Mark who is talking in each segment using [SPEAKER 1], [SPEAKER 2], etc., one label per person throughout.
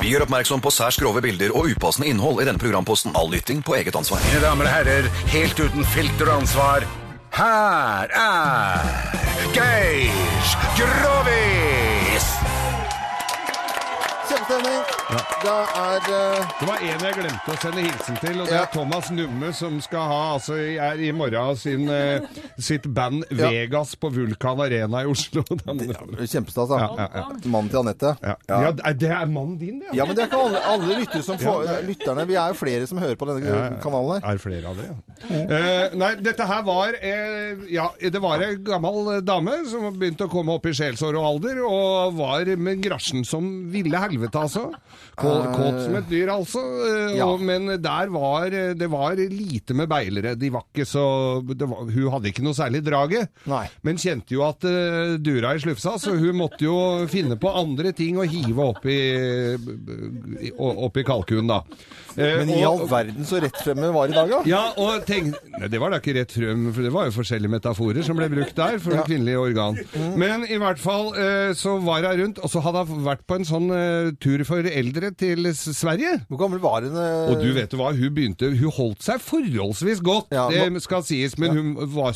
[SPEAKER 1] Vi gjør oppmerksom på særs grove bilder og upassende innhold i denne programposten. All lytting på eget ansvar.
[SPEAKER 2] Mine damer og herrer, helt uten filter og ansvar, her er Geir Grovis!
[SPEAKER 3] Kjempestemning. Det er eh,
[SPEAKER 4] Det var en jeg glemte å sende hilsen til, og det
[SPEAKER 3] Ja.
[SPEAKER 4] er Thomas Numme, som skal ha altså, er i morgen sin, eh, sitt band Vegas på Vulkan Arena i Oslo. Den, ja,
[SPEAKER 3] kjempestas, da.
[SPEAKER 4] Ja, ja, ja.
[SPEAKER 3] Mannen til Anette.
[SPEAKER 4] ja. er- det er mannen din, det?
[SPEAKER 3] Ja, men det er ikke alle, alle lyttere som får, lytterne. Vi er jo flere som hører på denne kanalen her.
[SPEAKER 4] Er det flere av det, ja. Eh, nei, dette her var eh, Ja, det var ei gammel eh, dame som begynte å komme opp i sjelsår og alder, og var med grasjen som ville helvete, altså. Kåt, kåt som et dyr, altså. Eh,
[SPEAKER 3] Eh. Ja.
[SPEAKER 4] og, men der var eh, det var lite med beilere. De var ikke så det var, Hun hadde ikke noe særlig draget,
[SPEAKER 3] Nei.
[SPEAKER 4] men kjente jo at eh, dura i slufsa, så hun måtte jo finne på andre ting å hive opp i, i, opp i kalkunen, da. Eh,
[SPEAKER 3] Men i
[SPEAKER 4] og-
[SPEAKER 3] all verden så rett frem hun var i dag, da.
[SPEAKER 4] ja, og tenk, nei, Det var da ikke rett frem, for det var jo forskjellige metaforer som ble brukt der for det kvinnelige organ.
[SPEAKER 3] Mm.
[SPEAKER 4] Men i hvert fall eh, så var hun rundt, og så hadde hun vært på en sånn eh, tur for eldre til S- Sverige.
[SPEAKER 3] Hvor gammel var hun? eh?
[SPEAKER 4] Og du vet hva, hun begynte Hun holdt seg forholdsvis godt,
[SPEAKER 3] Ja, nå-
[SPEAKER 4] det skal sies, men hun var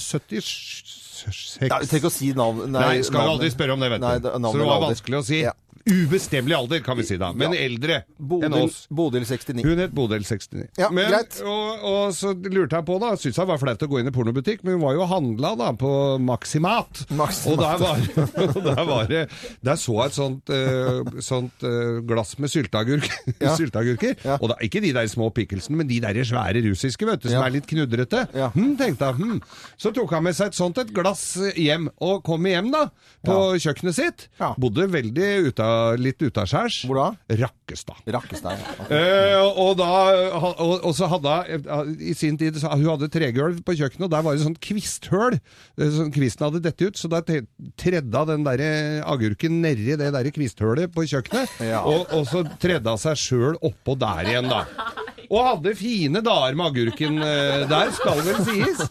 [SPEAKER 4] 76
[SPEAKER 3] Nei, Tenk å si navn...
[SPEAKER 4] Nei,
[SPEAKER 3] navnet.
[SPEAKER 4] skal jo aldri spørre om det, vet du.
[SPEAKER 3] Nei, da-
[SPEAKER 4] så
[SPEAKER 3] navnet
[SPEAKER 4] det var
[SPEAKER 3] eller alder.
[SPEAKER 4] vanskelig å si.
[SPEAKER 3] Ja.
[SPEAKER 4] Ubestemmelig alder, kan vi si da. Men
[SPEAKER 3] Ja.
[SPEAKER 4] eldre enn
[SPEAKER 3] Bodil,
[SPEAKER 4] oss.
[SPEAKER 3] Bodil 69.
[SPEAKER 4] Hun het Bodil 69.
[SPEAKER 3] Ja,
[SPEAKER 4] men,
[SPEAKER 3] greit.
[SPEAKER 4] Og, og så lurte jeg på, da. Syntes han var flaut å gå inn i pornobutikk, men hun var jo og handla da på Maximat.
[SPEAKER 3] Maximat.
[SPEAKER 4] Og der var, og der var det Der så jeg et sånt, eh, sånt eh, glass med sylteagurk,
[SPEAKER 3] Ja.
[SPEAKER 4] sylteagurker.
[SPEAKER 3] Ja.
[SPEAKER 4] Og da, ikke de der små pickelsene, men de der svære russiske, vet du, som
[SPEAKER 3] Ja.
[SPEAKER 4] er litt knudrete.
[SPEAKER 3] Ja.
[SPEAKER 4] Hm, tenkte jeg. Hm. Så tok han med seg et sånt et glass hjem, og kom hjem, da, på kjøkkenet sitt.
[SPEAKER 3] Ja.
[SPEAKER 4] Bodde veldig uta, litt utaskjærs.
[SPEAKER 3] Hvor da?
[SPEAKER 4] Rakkestad.
[SPEAKER 3] Rakkestein. ja.
[SPEAKER 4] Eh, og, da, ha- og, og så hadde hun eh, i sin tid så, Hun hadde tregulv på kjøkkenet, og der var det sånn kvisthøl. eh, Sånn kvisten hadde dette ut, så da te- tredda den der eh, agurken nedi det der kvisthølet på kjøkkenet.
[SPEAKER 3] Ja.
[SPEAKER 4] Og, og så tredda seg sjøl oppå der igjen, da. Og hadde fine dager med agurken eh, der, skal vel sies.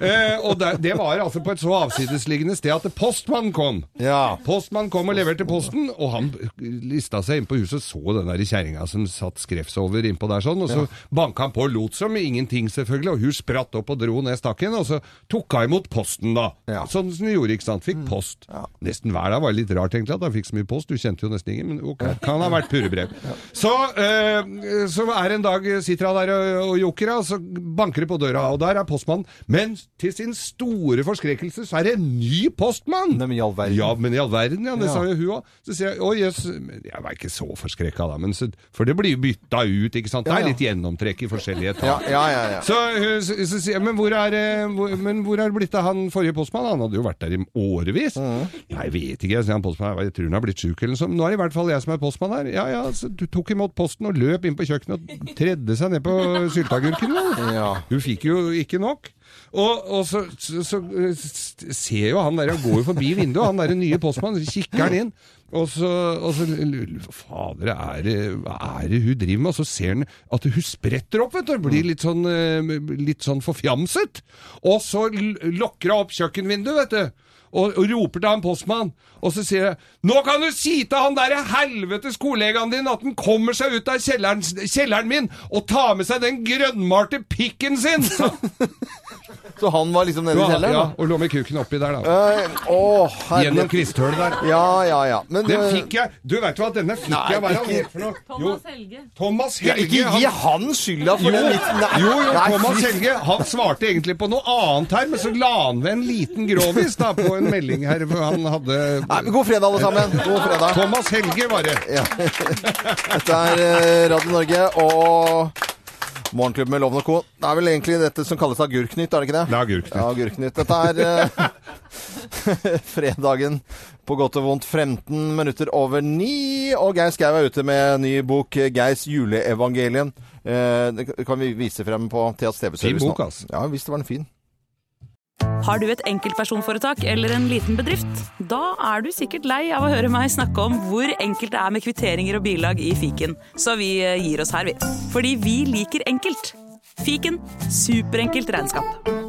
[SPEAKER 4] Eh, og der, det var altså på et så avsidesliggende sted at postmannen kom.
[SPEAKER 3] Ja.
[SPEAKER 4] Postmannen kom og leverte posten, og han lista seg inn på huset og så den der kjerringa som satt skrevs over innpå der sånn, og så banka han på og lot som ingenting, selvfølgelig, og hun spratt opp og dro ned stakken, og så tok hun imot posten, da.
[SPEAKER 3] Ja. Mm.
[SPEAKER 4] Sånn som hun gjorde, ikke sant. Fikk post. Nesten hver dag var det litt rart, egentlig, at han fikk så mye post. Du kjente jo nesten ingen, men ok, kan ha vært purrebrev. Så, eh, så er det en dag sitter han der og, og joker, og så banker det på døra, og der er postmannen. Men til sin store forskrekkelse så er det en ny postmann!
[SPEAKER 3] Nei, men i all verden.
[SPEAKER 4] Ja, men i all verden, ja. Det
[SPEAKER 3] Ja.
[SPEAKER 4] sa jo hun òg. Så sier jeg å jøss men Jeg var ikke så forskrekka da, men så, for det blir jo bytta ut, ikke sant. Det
[SPEAKER 3] Ja, ja.
[SPEAKER 4] er litt gjennomtrekk i forskjellige
[SPEAKER 3] Ja,
[SPEAKER 4] etater.
[SPEAKER 3] ja, ja. ja.
[SPEAKER 4] Så, hun- så, så sier jeg, men hvor er, eh, hvor, men hvor er det blitt av han forrige postmann? Han hadde jo vært der i årevis.
[SPEAKER 3] Mm.
[SPEAKER 4] Nei, jeg vet ikke, sier han postmann. Jeg tror han har blitt sjuk eller noe sånt. Nå er det i hvert fall jeg som er postmann her. Ja ja, så du tok imot posten og løp inn på kjøkkenet og tredde seg ned på sylteagurken. da.
[SPEAKER 3] Ja.
[SPEAKER 4] Hun fikk jo ikke nok. Og, og så, så, så eh, s- ser jo han der, han går jo forbi vinduet, han der nye postmannen, så kikker han inn. Og så, og så lurer jeg, Fader, er det, hva er det hun driver med? Og så ser han at hun spretter opp, vet du. og Blir litt sånn, eh, litt sånn forfjamset. Og så l- lokker hun opp kjøkkenvinduet, vet du. Og, og roper til han postmann, og så sier jeg Nå kan du si til han derre helvetes kollegaen din at han kommer seg ut av kjelleren, kjelleren min og tar med seg den grønnmalte pikken sin! sa han.
[SPEAKER 3] Så han var liksom nede i
[SPEAKER 4] ja,
[SPEAKER 3] kjelleren? da?
[SPEAKER 4] og lå med kuken oppi der, da.
[SPEAKER 3] Eh, Å,
[SPEAKER 4] Gjennom
[SPEAKER 3] herregud.
[SPEAKER 4] kvisthølet der.
[SPEAKER 3] Ja, ja, ja. Men
[SPEAKER 4] Den
[SPEAKER 3] eh,
[SPEAKER 4] fikk jeg Du veit hva, denne fikk
[SPEAKER 3] Nei,
[SPEAKER 4] jeg Hva er han
[SPEAKER 3] ikke-
[SPEAKER 4] het for noe? Jo,
[SPEAKER 5] Helge.
[SPEAKER 4] Thomas
[SPEAKER 3] ja,
[SPEAKER 4] Helge.
[SPEAKER 3] Ikke gi
[SPEAKER 4] han-
[SPEAKER 3] han skylda for
[SPEAKER 4] jo,
[SPEAKER 3] den vitsen. Nei.
[SPEAKER 4] jo, jo,
[SPEAKER 3] Nei,
[SPEAKER 4] Thomas
[SPEAKER 3] fy-
[SPEAKER 4] Helge han svarte egentlig på noe annet her, men så la han ved en liten grovis da, på en melding her. For han hadde
[SPEAKER 3] Nei, men God fredag, alle sammen. God fredag.
[SPEAKER 4] Thomas Helge, var det.
[SPEAKER 3] Dette er eh, Radio Norge og Morgenklubben med Loven og Co. Det er vel egentlig dette som kalles Agurknytt, er det ikke det?
[SPEAKER 4] Det er Agurknytt.
[SPEAKER 3] Ja, agurknytt. Dette er eh, fredagen på godt og vondt 15 minutter over ni. Og Geir Skau er ute med ny bok, eh, 'Geirs juleevangelien'. Eh, det kan vi vise frem på Theas TV-service
[SPEAKER 4] Fin bok,
[SPEAKER 3] nå.
[SPEAKER 4] altså.
[SPEAKER 3] Ja visst var den fin.
[SPEAKER 5] Har du et enkeltpersonforetak eller en liten bedrift? Da er du sikkert lei av å høre meg snakke om hvor enkelt det er med kvitteringer og bilag i fiken, så vi eh, gir oss her, vi. Fordi vi liker enkelt. Fiken superenkelt regnskap.